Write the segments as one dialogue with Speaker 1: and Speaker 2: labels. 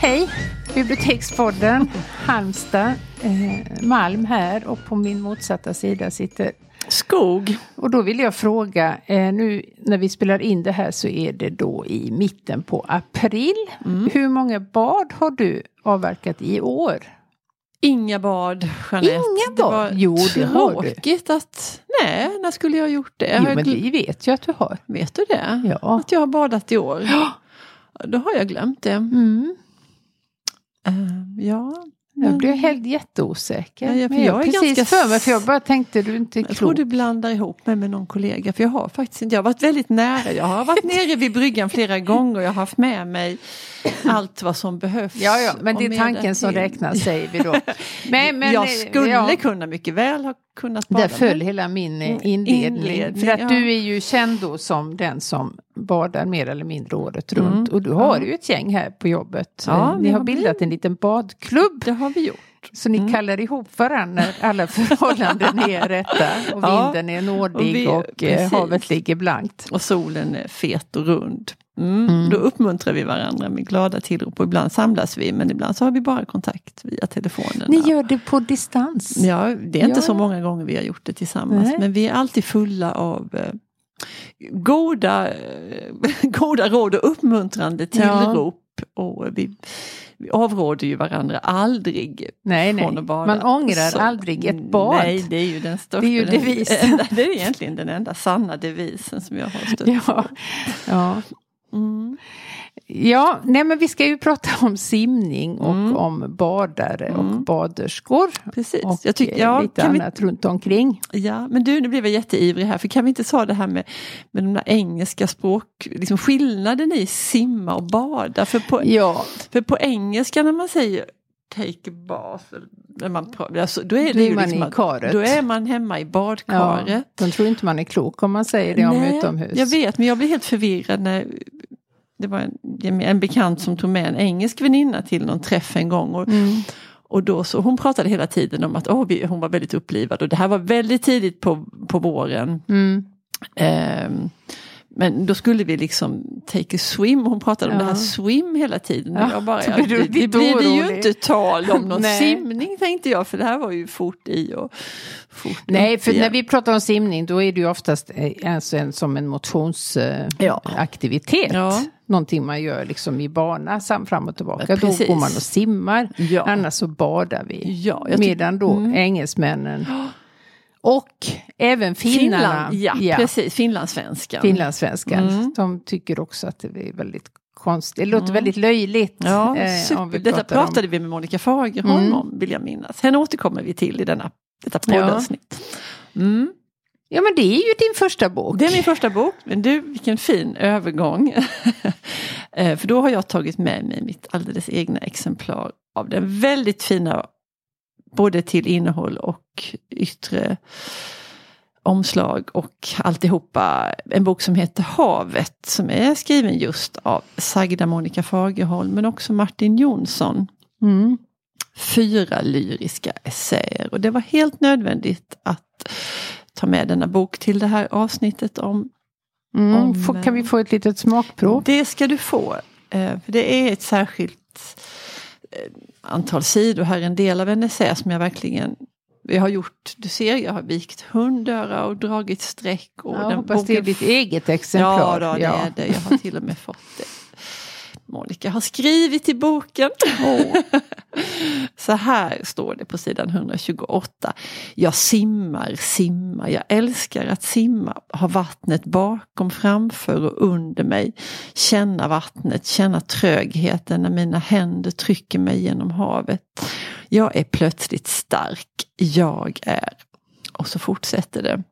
Speaker 1: Hej! Bibliotekspodden, Halmstad, eh, Malm här och på min motsatta sida sitter
Speaker 2: Skog.
Speaker 1: och då vill jag fråga, eh, nu när vi spelar in det här så är det då i mitten på april.
Speaker 2: Mm.
Speaker 1: Hur många bad har du avverkat i år?
Speaker 2: Inga bad, Jeanette.
Speaker 1: Inga
Speaker 2: Det
Speaker 1: bad?
Speaker 2: var
Speaker 1: Jo, det har du.
Speaker 2: tråkigt att... Nej, när skulle jag ha gjort det?
Speaker 1: Jo,
Speaker 2: Har jag
Speaker 1: men
Speaker 2: gl-
Speaker 1: vi vet ju att du har.
Speaker 2: Vet du det?
Speaker 1: Ja.
Speaker 2: Att jag har badat i år? Ja. Då har jag glömt det.
Speaker 1: Mm.
Speaker 2: Eh, ja.
Speaker 1: Jag
Speaker 2: men-
Speaker 1: blev helt jätteosäker.
Speaker 2: Ja, ja, för
Speaker 1: men jag,
Speaker 2: jag är
Speaker 1: precis
Speaker 2: ganska
Speaker 1: för mig, för jag bara tänkte du är inte
Speaker 2: Jag tror
Speaker 1: klok.
Speaker 2: du blandar ihop mig med någon kollega. För jag har faktiskt inte, jag har varit väldigt nära. Jag har varit nere vid bryggan flera gånger. Jag har haft med mig allt vad som behövs.
Speaker 1: Ja, ja, men
Speaker 2: och
Speaker 1: det är
Speaker 2: mer därtill.
Speaker 1: tanken som räknas säger vi då. Men, men,
Speaker 2: jag
Speaker 1: eh,
Speaker 2: skulle
Speaker 1: ja.
Speaker 2: kunna mycket väl ha kunnat bada.
Speaker 1: Där föll
Speaker 2: men-
Speaker 1: hela min eh,
Speaker 2: Mm,
Speaker 1: inledning.
Speaker 2: inledning,
Speaker 1: för att
Speaker 2: ja.
Speaker 1: du är ju känd då som den som badar mer eller mindre året runt.
Speaker 2: Mm,
Speaker 1: Och du har
Speaker 2: ja.
Speaker 1: ju ett gäng här på jobbet.
Speaker 2: Ja,
Speaker 1: Eh,
Speaker 2: vi
Speaker 1: ni har
Speaker 2: har Mm.
Speaker 1: bildat en liten badklubb.
Speaker 2: Det har vi gjort.
Speaker 1: Så ni kallar ihop varandra när alla förhållanden är rätta. Och
Speaker 2: Ja,
Speaker 1: vinden är nådig och,
Speaker 2: och vi-
Speaker 1: eh,
Speaker 2: precis.
Speaker 1: havet ligger blankt.
Speaker 2: och solen är fet och rund. Mm.
Speaker 1: Mm.
Speaker 2: Då uppmuntrar vi varandra med glada tillrop och ibland samlas vi men ibland så har vi bara kontakt via telefonen.
Speaker 1: Ni gör det på distans.
Speaker 2: Ja, det är inte
Speaker 1: Ja,
Speaker 2: så
Speaker 1: ja.
Speaker 2: många gånger vi har gjort det tillsammans
Speaker 1: Nej.
Speaker 2: men vi är alltid fulla av eh, goda, eh, goda råd och uppmuntrande tillrop. Och vi, vi avråder ju varandra aldrig
Speaker 1: Nej, nej.
Speaker 2: från att bada.
Speaker 1: Man ångrar
Speaker 2: Så-
Speaker 1: aldrig ett bad.
Speaker 2: Nej, det är ju den största.
Speaker 1: Det är ju
Speaker 2: den-
Speaker 1: devisen.
Speaker 2: enda- Det är egentligen den enda sanna devisen som jag har stött
Speaker 1: Ja, ja.
Speaker 2: Mm.
Speaker 1: Ja, nej men vi ska ju prata om simning och
Speaker 2: Mm.
Speaker 1: om badare och
Speaker 2: Mm.
Speaker 1: baderskor.
Speaker 2: Precis.
Speaker 1: Och
Speaker 2: jag tycker,
Speaker 1: eh,
Speaker 2: ja,
Speaker 1: lite
Speaker 2: kan vi,
Speaker 1: annat runt omkring.
Speaker 2: ja, men du, nu blev jag jätteivrig här, för kan vi inte ta det här med, med de där engelska språk, liksom skillnaden i simma och bada? För på,
Speaker 1: Ja,
Speaker 2: för på engelska när man säger take a bath, eller när man, pra- alltså, då är
Speaker 1: Då
Speaker 2: det
Speaker 1: är
Speaker 2: ju
Speaker 1: man i
Speaker 2: liksom att-
Speaker 1: karet.
Speaker 2: Då är man hemma i
Speaker 1: ja
Speaker 2: badkaret.
Speaker 1: de tror inte man är klok om man säger det om
Speaker 2: Nej,
Speaker 1: utomhus.
Speaker 2: Jag vet, men jag blev helt förvirrad när det var en, en bekant som tog med en engelsk väninna till någon träff en gång. Och,
Speaker 1: Mm.
Speaker 2: och då så, hon pratade hela tiden om att åh, vi, hon var väldigt upplivad och det här var väldigt tidigt på, på våren.
Speaker 1: Mm.
Speaker 2: Ehm, men då skulle vi liksom take a swim, hon pratade om
Speaker 1: Ja.
Speaker 2: det här swim hela tiden.
Speaker 1: Ja,
Speaker 2: och jag bara,
Speaker 1: då blir du
Speaker 2: det, det
Speaker 1: lite
Speaker 2: blir det ju
Speaker 1: orolig.
Speaker 2: inte tal om någon
Speaker 1: Nej.
Speaker 2: simning tänkte jag, för det här var ju fort i och fort
Speaker 1: Nej,
Speaker 2: upp
Speaker 1: för
Speaker 2: igen.
Speaker 1: när vi pratar om simning då är det ju oftast eh, alltså en, som en motionsaktivitet.
Speaker 2: Ja.
Speaker 1: Eh, aktivitet.
Speaker 2: Ja.
Speaker 1: Någonting man gör liksom i bana sam, fram och tillbaka.
Speaker 2: Ja,
Speaker 1: då
Speaker 2: precis.
Speaker 1: går man och simmar,
Speaker 2: Ja.
Speaker 1: annars så badar vi.
Speaker 2: Ja, jag Mm. tycker-
Speaker 1: Medan då engelsmännen och även finnarna,
Speaker 2: Finland, ja, precis. Finlandssvenskan. Mm.
Speaker 1: finlandssvenskan, de tycker också att det är väldigt konstigt. Det låter väldigt löjligt.
Speaker 2: Ja,
Speaker 1: eh,
Speaker 2: super.
Speaker 1: om vi
Speaker 2: Detta
Speaker 1: pratar om-
Speaker 2: pratade vi med Monica Fagerholm
Speaker 1: Mm.
Speaker 2: om, vill jag minnas. Henne återkommer vi till i denna, detta
Speaker 1: Ja.
Speaker 2: poddavsnitt. Mm.
Speaker 1: Ja, men det är ju din första bok.
Speaker 2: Det är min första bok, men du, vilken fin övergång. Eh, För då har jag tagit med mig mitt alldeles egna exemplar av den väldigt fina, både till innehåll och yttre omslag och alltihopa. En bok som heter Havet som är skriven just av sagda Monica Fagerholm men också Martin Jonsson
Speaker 1: Mm.
Speaker 2: fyra lyriska essäer. Och det var helt nödvändigt att ta med denna bok till det här avsnittet om...
Speaker 1: Mm.
Speaker 2: Om,
Speaker 1: Få- kan vi få ett litet smakprov?
Speaker 2: Det ska du få. Eh, För det är ett särskilt eh, antal sidor här, en del av en essä som jag verkligen jag har gjort, du ser, jag har vikt hundöra och dragit streck. Och
Speaker 1: Ja,
Speaker 2: den
Speaker 1: hoppas det är
Speaker 2: boken
Speaker 1: ditt eget exemplar.
Speaker 2: Ja, då, det är det. Jag har till och med fått det. Monica har skrivit i boken. Så här står det på sidan 128. Jag simmar, simmar, jag älskar att simma. Ha vattnet bakom, framför och under mig. Känna vattnet, känna trögheten när mina händer trycker mig genom havet. Jag är plötsligt stark, jag är. Och så fortsätter det.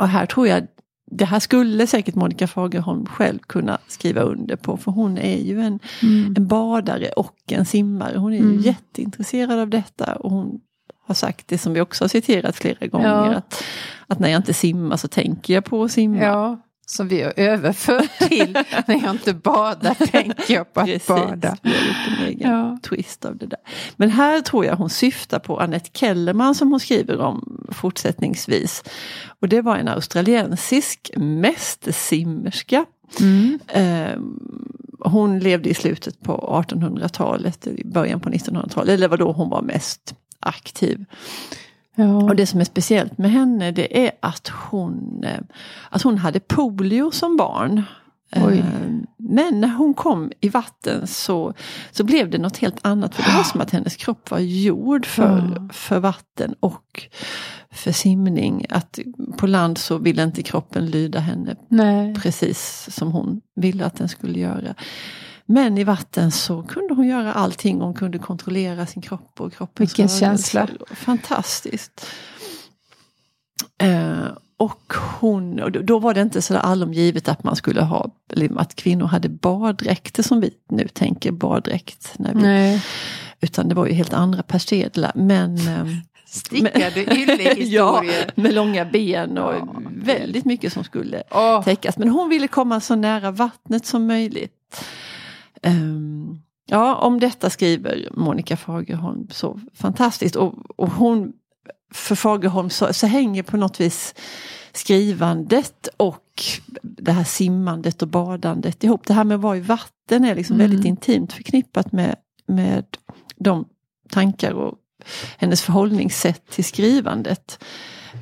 Speaker 2: Och här tror jag, det här skulle säkert Monica Fagerholm själv kunna skriva under på, för hon är ju en,
Speaker 1: Mm.
Speaker 2: en badare och en simmare. Hon är ju
Speaker 1: Mm.
Speaker 2: jätteintresserad av detta och hon har sagt det som vi också har citerat flera gånger,
Speaker 1: Ja.
Speaker 2: att, att när jag inte simmar så tänker jag på att simma.
Speaker 1: Ja, Mm. som vi har överfört till när jag inte badar tänker jag på att
Speaker 2: Precis,
Speaker 1: bada.
Speaker 2: vi har gjort en egen
Speaker 1: Ja.
Speaker 2: twist av det där. Men här tror jag hon syftar på Annette Kellerman som hon skriver om fortsättningsvis. Och det var en australiensisk mästersimmerska.
Speaker 1: Mm.
Speaker 2: Eh, Hon levde i slutet på 1800-talet, i början på 1900-talet, eller det var då hon var mest aktiv.
Speaker 1: Ja.
Speaker 2: Och det som är speciellt med henne det är att hon, eh, att hon hade polio som barn.
Speaker 1: Oj.
Speaker 2: Eh, Men när hon kom i vatten så, så blev det något helt annat. För det var som att hennes kropp var gjord för,
Speaker 1: Ja.
Speaker 2: för vatten och för simning. Att på land så ville inte kroppen lyda henne
Speaker 1: Nej.
Speaker 2: precis som hon ville att den skulle göra. Men i vatten så kunde hon göra allting. Hon kunde kontrollera sin kropp och kroppens
Speaker 1: Vilken
Speaker 2: rörelser.
Speaker 1: känsla.
Speaker 2: Fantastiskt. Eh, och hon, och då- då var det inte så där allomgivet att man skulle ha, eller att kvinnor hade baddräkter som vi nu tänker baddräkt. När vi,
Speaker 1: Nej.
Speaker 2: Utan det var ju helt andra persedlar. Men, ehm,
Speaker 1: Stickade
Speaker 2: ja,
Speaker 1: yllehistorier.
Speaker 2: med långa ben och
Speaker 1: Ja.
Speaker 2: väldigt mycket som skulle
Speaker 1: ja.
Speaker 2: täckas. Men hon ville komma så nära vattnet som möjligt. Ehm, ja, om detta skriver Monica Fagerholm så fantastiskt. Och, och hon, för Fagerholm så, så hänger på något vis skrivandet och det här simmandet och badandet ihop. Det här med att vara i vatten är liksom
Speaker 1: Mm.
Speaker 2: väldigt intimt förknippat med, med de tankar och hennes förhållningssätt till skrivandet.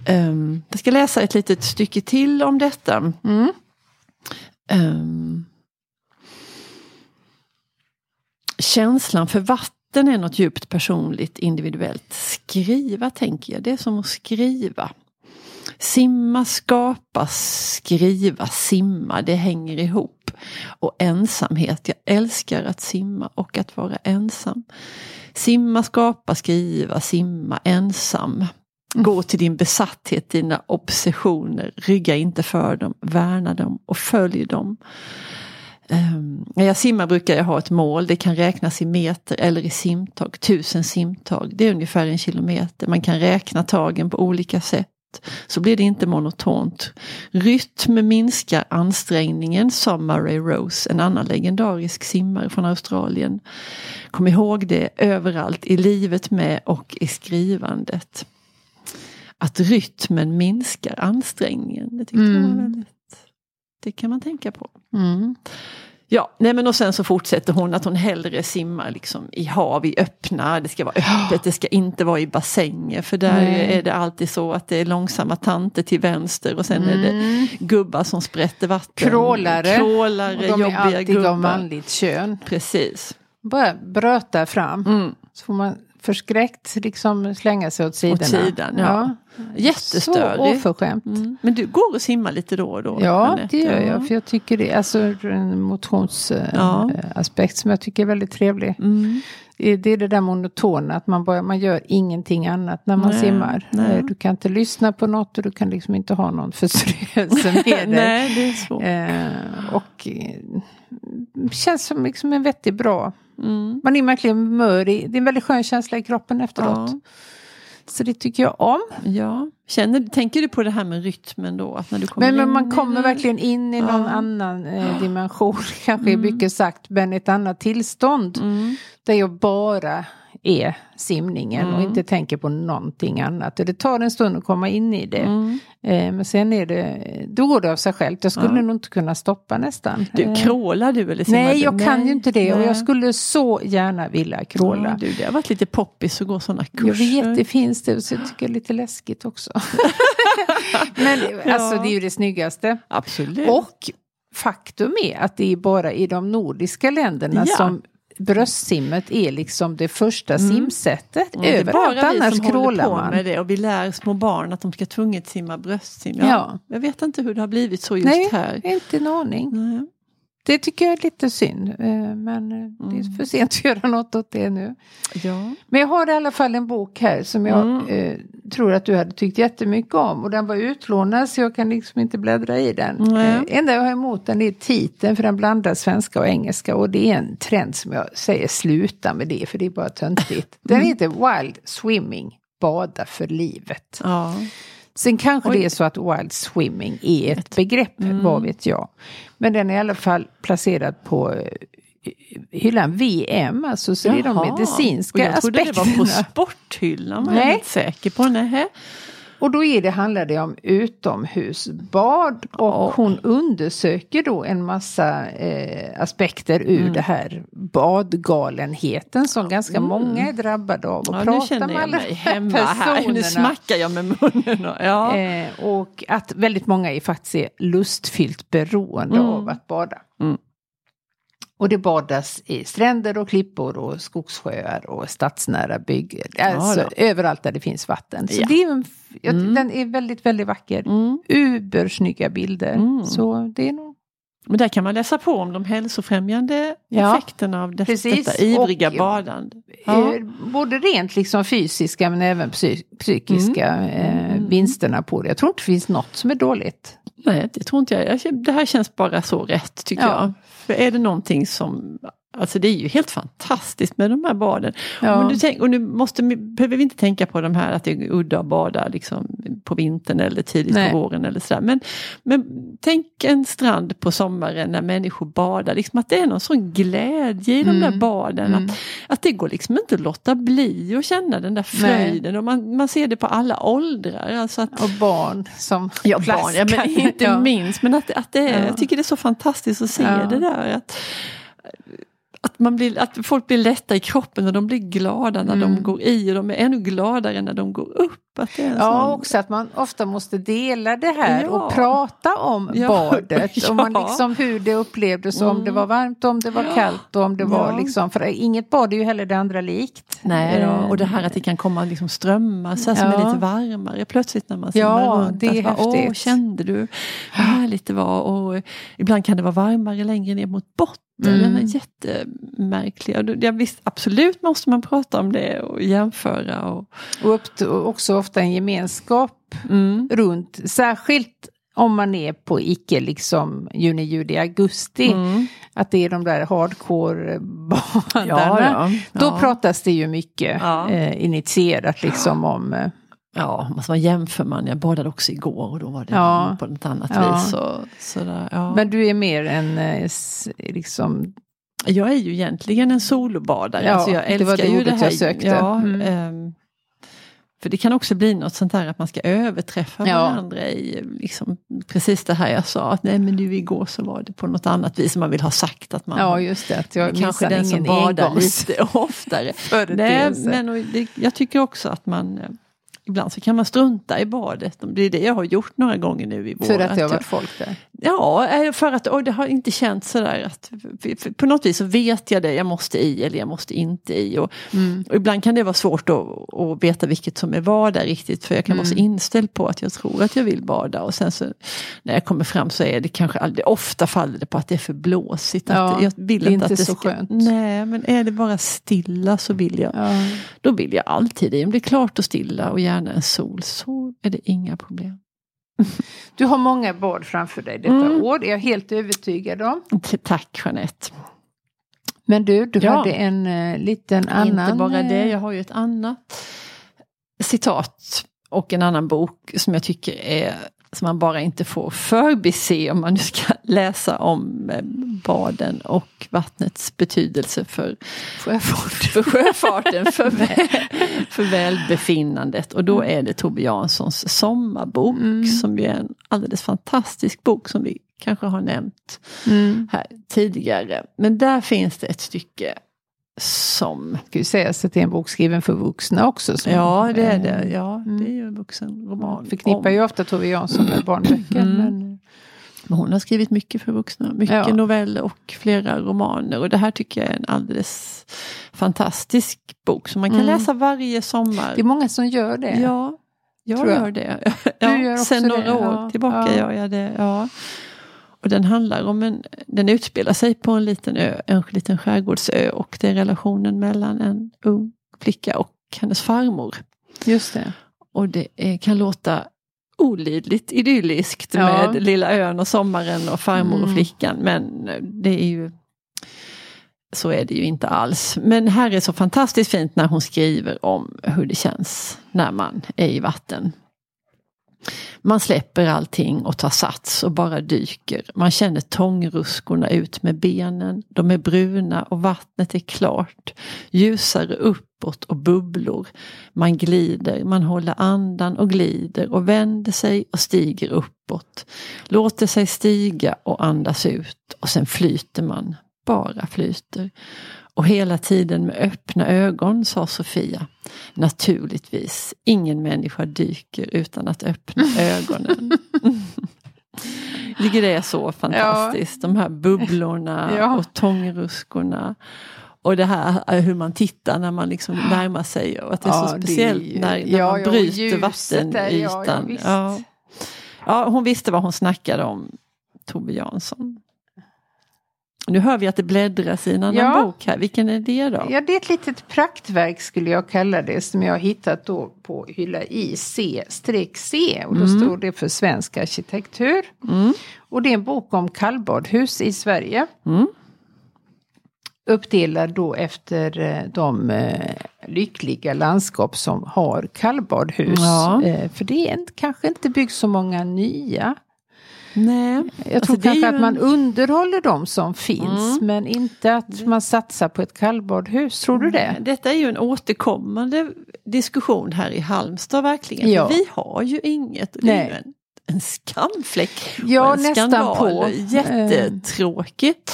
Speaker 2: Ehm, jag ska läsa ett litet stycke till om detta.
Speaker 1: Mm.
Speaker 2: Ehm. känslan för vatten är något djupt personligt, individuellt. Skriva, tänker jag, det är som att skriva. Simma, skapa, skriva, simma, det hänger ihop. Och ensamhet, jag älskar att simma och att vara ensam. Simma, skapa, skriva, simma, ensam. Gå till din besatthet, dina obsessioner, rygga inte för dem, värna dem och följ dem. Ehm, när jag simmar brukar jag ha ett mål, det kan räknas i meter eller i simtag, tusen simtag, det är ungefär en kilometer. Man kan räkna tagen på olika sätt, så blir det inte monotont. Rytm minskar ansträngningen, sa Murray Rose, en annan legendarisk simmare från Australien. Kom ihåg det överallt, i livet med och i skrivandet. Att rytmen minskar ansträngningen, det tyckte jag
Speaker 1: Mm.
Speaker 2: var väldigt... Det kan man tänka på.
Speaker 1: Mm.
Speaker 2: Ja, nej men och sen så fortsätter hon att hon hellre simmar liksom i hav, i öppna, det ska vara öppet, det ska inte vara i bassänger. För där
Speaker 1: Nej.
Speaker 2: är det alltid så att det är långsamma tanter till vänster och sen är det
Speaker 1: Mm.
Speaker 2: gubbar som sprätter vatten.
Speaker 1: Krålare.
Speaker 2: Krålare,
Speaker 1: Och de är
Speaker 2: jobbiga
Speaker 1: alltid
Speaker 2: gubbar.
Speaker 1: av manligt kön.
Speaker 2: Precis.
Speaker 1: Bara bröta fram.
Speaker 2: Mm.
Speaker 1: Så får man förskräckt liksom slänga sig åt sidorna.
Speaker 2: Åt sidan, ja.
Speaker 1: Så
Speaker 2: Jättestörig.
Speaker 1: oförskämt.
Speaker 2: Mm. Men du går och simmar lite då och då?
Speaker 1: Ja,
Speaker 2: Anette,
Speaker 1: det gör
Speaker 2: ja.
Speaker 1: jag. För jag tycker det alltså ur en
Speaker 2: Ja.
Speaker 1: motionsaspekt som jag tycker är väldigt trevlig.
Speaker 2: Mm.
Speaker 1: Eh, Det är det där monotona, att man, bara, man gör ingenting annat när man
Speaker 2: Nej,
Speaker 1: simmar.
Speaker 2: nej.
Speaker 1: Eh, Du kan inte lyssna på något och du kan liksom inte ha någon förströelse med dig.
Speaker 2: Nej, det är svårt.
Speaker 1: Eh, och eh, känns som liksom en vettig bra.
Speaker 2: Mm.
Speaker 1: Man är verkligen mör i, det är en väldigt skön känsla i kroppen efteråt.
Speaker 2: Ja.
Speaker 1: Så det tycker jag om.
Speaker 2: Ja. Känner, tänker du på det här med rytmen då? Att när du kommer
Speaker 1: Men, men man
Speaker 2: in i
Speaker 1: kommer
Speaker 2: det-
Speaker 1: verkligen in i någon
Speaker 2: Ja.
Speaker 1: annan eh, dimension, kanske är mycket sagt, men ett annat tillstånd.
Speaker 2: Mm.
Speaker 1: Där jag bara är simningen och
Speaker 2: Mm.
Speaker 1: inte tänker på någonting annat. Och det tar en stund att komma in i det.
Speaker 2: Mm.
Speaker 1: Eh, men sen är det, då går det av sig självt. Jag skulle
Speaker 2: Ja.
Speaker 1: nog inte kunna stoppa nästan.
Speaker 2: Du,
Speaker 1: Eh,
Speaker 2: krålar du eller simmar
Speaker 1: Nej,
Speaker 2: du?
Speaker 1: jag kan ju inte det. Och
Speaker 2: nej.
Speaker 1: jag skulle så gärna vilja kråla.
Speaker 2: Ja, du, det har varit lite poppis att gå sådana
Speaker 1: Jag
Speaker 2: kurser.
Speaker 1: vet, det finns det. Så jag tycker det är lite läskigt också. Men alltså, det är ju det snyggaste.
Speaker 2: Absolut.
Speaker 1: Och faktum är att det är bara i de nordiska länderna
Speaker 2: Ja.
Speaker 1: som bröstsimmet är liksom det första simsättet.
Speaker 2: Mm, det är
Speaker 1: Överallt
Speaker 2: bara vi
Speaker 1: annars
Speaker 2: som håller
Speaker 1: krålar
Speaker 2: på
Speaker 1: man.
Speaker 2: med det och vi lär små barn att de ska tvunget simma bröstsim.
Speaker 1: Ja.
Speaker 2: Jag vet inte hur det har blivit så just
Speaker 1: Nej.
Speaker 2: här.
Speaker 1: Inte en aning.
Speaker 2: Nej.
Speaker 1: Det tycker jag är lite synd. eh, Men eh, det
Speaker 2: Mm.
Speaker 1: är för sent att göra något åt det nu.
Speaker 2: Ja.
Speaker 1: Men jag har i alla fall en bok här som jag
Speaker 2: Mm.
Speaker 1: eh, tror att du hade tyckt jättemycket om. Och den var utlånad så jag kan liksom inte bläddra i den.
Speaker 2: Nej.
Speaker 1: Eh, enda jag har emot den är titeln för den blandar svenska och engelska. Och det är en trend som jag säger sluta med det för det är bara
Speaker 2: Mm.
Speaker 1: töntigt. Den heter Wild Swimming. Bada för livet.
Speaker 2: ja.
Speaker 1: Sen kanske
Speaker 2: Oj. Mm.
Speaker 1: det är så att wild swimming är ett begrepp, vad vet jag. Men den är i alla fall placerad på eh, hyllan VM, alltså så det är de
Speaker 2: Jaha.
Speaker 1: medicinska
Speaker 2: och jag trodde
Speaker 1: aspekterna.
Speaker 2: det var på sporthyllan. Var jag
Speaker 1: Nej.
Speaker 2: inte säker på. Nej.
Speaker 1: Och då är det, handlar det om utomhusbad och
Speaker 2: Ja.
Speaker 1: hon undersöker då en massa eh, aspekter ur
Speaker 2: Mm.
Speaker 1: det här badgalenheten som ganska många är drabbade av. Och
Speaker 2: Ja, nu
Speaker 1: pratar
Speaker 2: känner
Speaker 1: med
Speaker 2: jag
Speaker 1: alla
Speaker 2: mig hemma här. Nu
Speaker 1: personerna.
Speaker 2: smackar jag med munnen. Och, ja.
Speaker 1: Eh, och att väldigt många är faktiskt är lustfyllt beroende
Speaker 2: Mm.
Speaker 1: av att bada.
Speaker 2: Mm.
Speaker 1: Och det badas i stränder och klippor och skogssjöar och stadsnära bygg. Alltså
Speaker 2: då.
Speaker 1: överallt där det finns vatten. Så
Speaker 2: Ja.
Speaker 1: det är en, f- jag,
Speaker 2: Mm.
Speaker 1: den är väldigt, väldigt vacker.
Speaker 2: Mm.
Speaker 1: Ubersnygga bilder.
Speaker 2: Mm.
Speaker 1: Så det är nog...
Speaker 2: Men där kan man läsa på om de hälsofrämjande
Speaker 1: Ja,
Speaker 2: effekterna av det,
Speaker 1: precis.
Speaker 2: detta ivriga
Speaker 1: Och-
Speaker 2: badande. Ja.
Speaker 1: eh, Både rent liksom fysiska men även psy- psykiska eh,
Speaker 2: Mm.
Speaker 1: vinsterna på det. Jag tror inte det finns något som är dåligt.
Speaker 2: Nej, det tror inte jag. jag. känner- Det här känns bara så rätt tycker
Speaker 1: Ja.
Speaker 2: jag. För är det någonting som... Alltså det är ju helt fantastiskt med de här baden. Men du tänk, och nu måste, behöver vi inte tänka på de här att det är udda att bada liksom på vintern eller tidigt
Speaker 1: Nej.
Speaker 2: på våren eller sådär. Men, men tänk en strand på sommaren när människor badar, liksom att det är någon sån glädje i de
Speaker 1: Mm.
Speaker 2: där baden.
Speaker 1: Mm.
Speaker 2: Att, att det går liksom inte att låta bli att känna den där fröjden. Och man, man ser det på alla åldrar. Alltså att,
Speaker 1: Och barn som
Speaker 2: Ja, barn, ja, men
Speaker 1: plaskar.
Speaker 2: inte
Speaker 1: Ja.
Speaker 2: minst. Men att, att det är,
Speaker 1: Ja.
Speaker 2: jag tycker det är så fantastiskt att se
Speaker 1: Ja.
Speaker 2: det där. Att, att, man blir, att folk blir lätta i kroppen och de blir glada när de
Speaker 1: Mm.
Speaker 2: går i och de är ännu gladare när de går upp. Att det är en
Speaker 1: Ja,
Speaker 2: sån-
Speaker 1: också att man ofta måste dela det här
Speaker 2: Alltså, Ja.
Speaker 1: och prata om
Speaker 2: Ja.
Speaker 1: badet. Och man
Speaker 2: Ja.
Speaker 1: liksom hur det upplevdes, och om det
Speaker 2: Mm.
Speaker 1: var varmt, om det var kallt och om det var
Speaker 2: Ja.
Speaker 1: liksom... För inget bad är ju heller det andra likt.
Speaker 2: Nej,
Speaker 1: Eh,
Speaker 2: då, och det här att det kan komma liksom strömmar så här, som
Speaker 1: Ja.
Speaker 2: är lite varmare plötsligt när man
Speaker 1: Ja,
Speaker 2: simmar runt.
Speaker 1: det är
Speaker 2: att, bara, Åh,
Speaker 1: häftigt."
Speaker 2: kände du vad härligt det var? Och eh, ibland kan det vara varmare längre ner mot botten.
Speaker 1: Mm.
Speaker 2: Den är jättemärklig. Och då- Ja, visst, absolut måste man prata om det och jämföra. Och,
Speaker 1: Och upp, och också ofta en gemenskap Mm. runt, särskilt om man är på icke liksom juni, juli, augusti.
Speaker 2: Mm.
Speaker 1: Att det är de där hardcore-badarna. Då
Speaker 2: ja.
Speaker 1: pratas det ju mycket
Speaker 2: Ja.
Speaker 1: eh, initierat liksom om... Eh,
Speaker 2: ja, alltså vad jämför man? Jag badade också igår och då var det
Speaker 1: Ja.
Speaker 2: på något annat
Speaker 1: Ja.
Speaker 2: vis. Och, sådär, ja.
Speaker 1: Men du är mer en eh, s- liksom...
Speaker 2: jag är ju egentligen en solobadare.
Speaker 1: Ja,
Speaker 2: alltså jag
Speaker 1: det
Speaker 2: älskar
Speaker 1: var det
Speaker 2: ju det
Speaker 1: ordet
Speaker 2: här.
Speaker 1: jag sökte.
Speaker 2: Ja,
Speaker 1: Mm.
Speaker 2: ehm, för det kan också bli något sånt där att man ska överträffa
Speaker 1: Ja.
Speaker 2: varandra i liksom, precis det här jag sa, att nej men du igår så var det på något annat vis som man vill ha sagt att man
Speaker 1: Ja, just det. Att jag
Speaker 2: kanske
Speaker 1: missar
Speaker 2: den som
Speaker 1: ingen
Speaker 2: badar
Speaker 1: engångs...
Speaker 2: lite oftare. Nej,
Speaker 1: företeelse.
Speaker 2: men och det, jag tycker också att man eh, Ibland så kan man strunta i badet. Det är det jag har gjort några gånger nu i vår.
Speaker 1: För att det har
Speaker 2: jag-
Speaker 1: varit folk där.
Speaker 2: Ja, eh, för att och det har inte känts sådär att för- för- på något vis så vet jag det jag måste i eller jag måste inte i. Och,
Speaker 1: Mm.
Speaker 2: och ibland kan det vara svårt att, att veta vilket som är vad där riktigt för jag kan vara
Speaker 1: Mm.
Speaker 2: så inställd på att jag tror att jag vill bada och sen så när jag kommer fram så är det kanske aldrig, ofta faller det på att det är för blåsigt.
Speaker 1: Ja,
Speaker 2: att jag vill
Speaker 1: det är
Speaker 2: inte att
Speaker 1: inte
Speaker 2: det
Speaker 1: så
Speaker 2: ska,
Speaker 1: skönt.
Speaker 2: Nej, men är det bara stilla så vill jag,
Speaker 1: Ja.
Speaker 2: då vill jag alltid i. Om det är klart och stilla och gärna en sol så är det inga problem.
Speaker 1: Du har många bad framför dig detta
Speaker 2: Mm.
Speaker 1: år, det är jag helt övertygad om.
Speaker 2: T- Tack Jeanette.
Speaker 1: Men du, du
Speaker 2: Ja.
Speaker 1: hade en eh, liten annan...
Speaker 2: Inte bara det,
Speaker 1: eh,
Speaker 2: jag har ju ett annat citat och en annan bok som jag tycker är som man bara inte får förbise om man nu ska läsa om eh, baden och vattnets betydelse för
Speaker 1: sjöfart.
Speaker 2: för sjöfarten, för, vä- för välbefinnandet. Och då är det Tove Janssons sommarbok
Speaker 1: Mm.
Speaker 2: som ju är en alldeles fantastisk bok som vi kanske har nämnt
Speaker 1: Mm.
Speaker 2: här tidigare. Men där finns det ett stycke som
Speaker 1: Ska ju sägas att det är en bok skriven för vuxna också. Som,
Speaker 2: Ja, det är
Speaker 1: eh,
Speaker 2: det. Ja, det är ju en vuxenroman.
Speaker 1: Man förknippar
Speaker 2: om-
Speaker 1: ju ofta Tove Jansson med barnböcker.
Speaker 2: Mm.
Speaker 1: Men,
Speaker 2: Men hon har skrivit mycket för vuxna. Mycket
Speaker 1: Ja.
Speaker 2: noveller och flera romaner. Och det här tycker jag är en alldeles fantastisk bok. Som man kan
Speaker 1: Mm.
Speaker 2: läsa varje sommar.
Speaker 1: det är många som gör det.
Speaker 2: Ja, jag
Speaker 1: Tror jag.
Speaker 2: gör det. Ja,
Speaker 1: gör också
Speaker 2: sen några
Speaker 1: det,
Speaker 2: år
Speaker 1: ja.
Speaker 2: tillbaka
Speaker 1: Ja.
Speaker 2: gör jag det. Ja. Och den handlar om en, den utspelar sig på en liten ö, en liten skärgårdsö. Och det är relationen mellan en ung flicka och hennes farmor.
Speaker 1: Just det.
Speaker 2: Och det eh, kan låta olidligt idylliskt
Speaker 1: Ja.
Speaker 2: med lilla ön och sommaren och farmor och
Speaker 1: Mm.
Speaker 2: flickan. Men eh, det är ju så är det ju inte alls. Men här är så fantastiskt fint när hon skriver om hur det känns när man är i vatten. Man släpper allting och tar sats och bara dyker. Man känner tångruskorna ut med benen. De är bruna och vattnet är klart. Ljusare uppåt och bubblor. Man glider, man håller andan och glider och vänder sig och stiger uppåt. Låter sig stiga och andas ut och sen flyter man. Bara flyter. Och hela tiden med öppna ögon, sa Sofia. Naturligtvis, ingen människa dyker utan att öppna ögonen. Jag tycker det är så fantastiskt, de här bubblorna
Speaker 1: Ja.
Speaker 2: och tångruskorna. Och det här eh, hur man tittar när man liksom närmar sig och att det är
Speaker 1: Ja,
Speaker 2: så
Speaker 1: det
Speaker 2: speciellt
Speaker 1: är ju-
Speaker 2: när, när
Speaker 1: ja,
Speaker 2: man
Speaker 1: ja, och
Speaker 2: bryter
Speaker 1: ljuset där, ja, ja,
Speaker 2: vattenytan.
Speaker 1: visst.
Speaker 2: ja. Ja, hon visste vad hon snackade om, Tove Jansson. Nu hör vi att det bläddras i en annan
Speaker 1: Ja.
Speaker 2: bok här. Vilken är det då?
Speaker 1: Ja, det är ett litet praktverk skulle jag kalla det som jag har hittat då på hylla IC-C och då
Speaker 2: Mm.
Speaker 1: står det för svensk arkitektur. Och det är en bok om kallbadhus i Sverige.
Speaker 2: Mm.
Speaker 1: Uppdelad då efter eh, de eh, lyckliga landskap som har kallbadhus.
Speaker 2: Ja.
Speaker 1: Eh, För det är inte- kanske inte byggs så många nya.
Speaker 2: Nej.
Speaker 1: Jag tror
Speaker 2: Alltså, det är
Speaker 1: kanske
Speaker 2: ju
Speaker 1: att man
Speaker 2: en- Mm.
Speaker 1: underhåller de som finns men inte att man satsar på ett kallbadhus. Tror du det?
Speaker 2: Eh, Detta är ju en återkommande diskussion här i Halmstad verkligen.
Speaker 1: Ja.
Speaker 2: Vi har ju inget. Det är
Speaker 1: Nej.
Speaker 2: ju en, en skamfläck.
Speaker 1: Ja,
Speaker 2: och en
Speaker 1: nästan
Speaker 2: skandal.
Speaker 1: på. Eh.
Speaker 2: Jättetråkigt.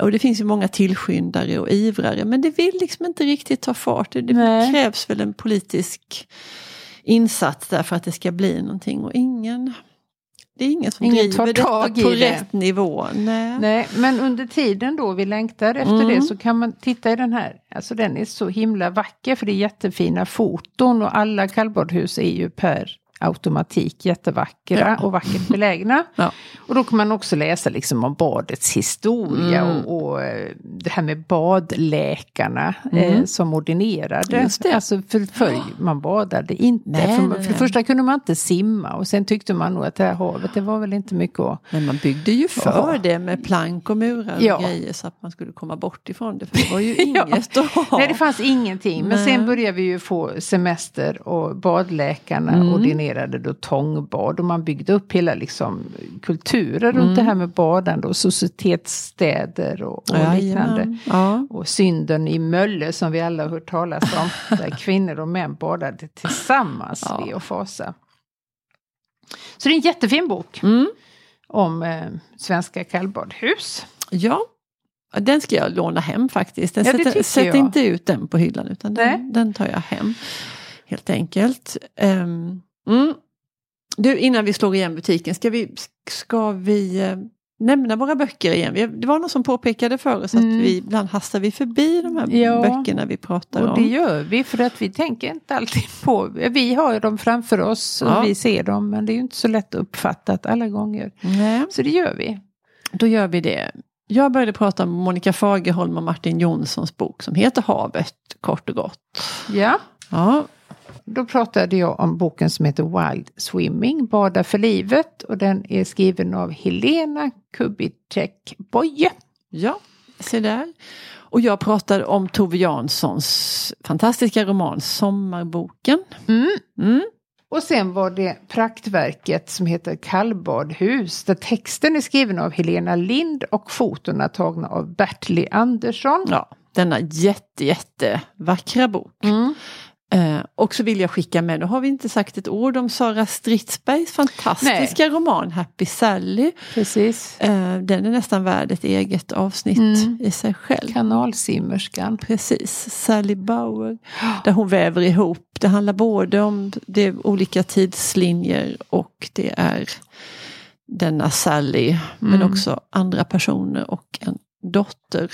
Speaker 2: Och det finns ju många tillskyndare och ivrare men det vill liksom inte riktigt ta fart. Det
Speaker 1: Nej.
Speaker 2: krävs väl en politisk insats där för att det ska bli någonting och ingen det är ingen som
Speaker 1: Ingen tar
Speaker 2: driver detta
Speaker 1: tag i
Speaker 2: på
Speaker 1: det.
Speaker 2: rätt nivå. Nej.
Speaker 1: Nej, men under tiden då vi längtar efter
Speaker 2: Mm.
Speaker 1: det så kan man titta i den här. Alltså den är så himla vacker för det är jättefina foton och alla kallbadhus är ju per automatik jättevackra och vackert belägna.
Speaker 2: Ja.
Speaker 1: Och då kan man också läsa liksom om badets historia
Speaker 2: Mm.
Speaker 1: och, och eh, det här med badläkarna eh, som ordinerade.
Speaker 2: Mm. Just det.
Speaker 1: Alltså för, förr man badade inte.
Speaker 2: Nej,
Speaker 1: för,
Speaker 2: nej,
Speaker 1: för det
Speaker 2: nej.
Speaker 1: första kunde man inte simma och sen tyckte man nog att det här havet det var väl inte mycket att
Speaker 2: Men man byggde ju för
Speaker 1: Ja.
Speaker 2: det med plank och murar
Speaker 1: Ja.
Speaker 2: och grejer så att man skulle komma bort ifrån det. För det var ju inget att ha.
Speaker 1: Nej, det fanns ingenting. Men
Speaker 2: Nej.
Speaker 1: sen började vi ju få semester och badläkarna
Speaker 2: Mm.
Speaker 1: ordinerade då tångbad och man byggde upp hela liksom kulturen runt det
Speaker 2: Mm.
Speaker 1: här med badande och societetsstäder och, och liknande.
Speaker 2: Jajamän. Ja.
Speaker 1: Och synden i Mölle som vi alla har hört talas om, där kvinnor och män badade tillsammans
Speaker 2: Ja.
Speaker 1: vid och fasa. Så det är en jättefin bok
Speaker 2: Mm.
Speaker 1: om eh, svenska kallbadhus.
Speaker 2: ja. Ja, Den ska jag låna hem faktiskt. Den
Speaker 1: Ja, det
Speaker 2: sätter,
Speaker 1: tycker
Speaker 2: sätt
Speaker 1: jag.
Speaker 2: inte ut den på hyllan utan
Speaker 1: Nej.
Speaker 2: den, den tar jag hem. Helt enkelt. Ehm, mm. Du, innan vi slår igen butiken, ska vi, ska vi eh, nämna våra böcker igen? Vi- Det var någon som påpekade för oss
Speaker 1: Mm.
Speaker 2: att vi ibland hastar vi förbi de här
Speaker 1: Ja.
Speaker 2: böckerna vi pratar om.
Speaker 1: Och det gör vi för att vi tänker inte alltid på, vi har ju dem framför oss och
Speaker 2: Ja.
Speaker 1: vi ser dem men det är ju inte så lätt uppfattat alla gånger.
Speaker 2: Nej.
Speaker 1: Så det gör vi.
Speaker 2: Då gör vi det. Jag började prata om Monica Fagerholm och Martin Jonssons bok som heter Havet, kort och gott.
Speaker 1: Ja,
Speaker 2: Ja,
Speaker 1: då pratade jag om boken som heter Wild Swimming, Bada för livet och den är skriven av Helena Kubicek Boye.
Speaker 2: ja se där. Och jag pratade om Tove Janssons fantastiska roman Sommarboken. Mm.
Speaker 1: Och sen var det praktverket som heter Kallbadhus där texten är skriven av Helena Lind och fotona tagna av Bertli Andersson.
Speaker 2: Ja, denna jätte, jätte vackra bok.
Speaker 1: Mm.
Speaker 2: Eh, och så vill jag skicka med, nu har vi inte sagt ett ord om Sara Stridsbergs fantastiska roman Happy Sally.
Speaker 1: Precis.
Speaker 2: Eh, den är nästan värd ett eget avsnitt
Speaker 1: Mm.
Speaker 2: i sig själv.
Speaker 1: Kanalsimmerskan.
Speaker 2: Precis, Sally Bauer. Där hon väver ihop, det handlar både om det är olika tidslinjer och det är denna Sally, men
Speaker 1: Mm.
Speaker 2: också andra personer och en dotter.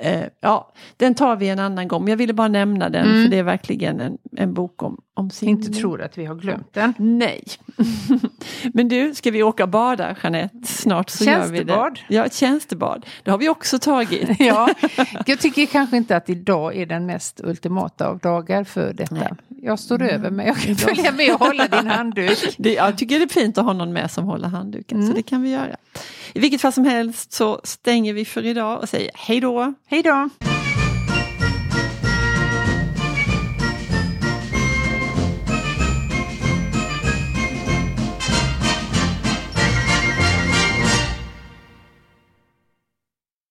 Speaker 2: Eh, ja, den tar vi en annan gång, men jag ville bara nämna den
Speaker 1: Mm.
Speaker 2: för det är verkligen en, en bok om, om sin...
Speaker 1: inte tror att vi har glömt den.
Speaker 2: Nej. Men du, ska vi åka och bada Jeanette? Snart så gör vi det.
Speaker 1: Tjänstebad.
Speaker 2: Ja, tjänstebad. Det har vi också tagit.
Speaker 1: Ja, jag tycker kanske inte att idag är den mest ultimata av dagar för detta.
Speaker 2: Nej. Mm.
Speaker 1: Jag står över men jag kan följa med och hålla din handduk.
Speaker 2: Det, jag tycker det är fint att ha någon med som håller handduken, så det kan vi göra. I vilket fall som helst så stänger vi för idag och säger hej då!
Speaker 1: Hej då!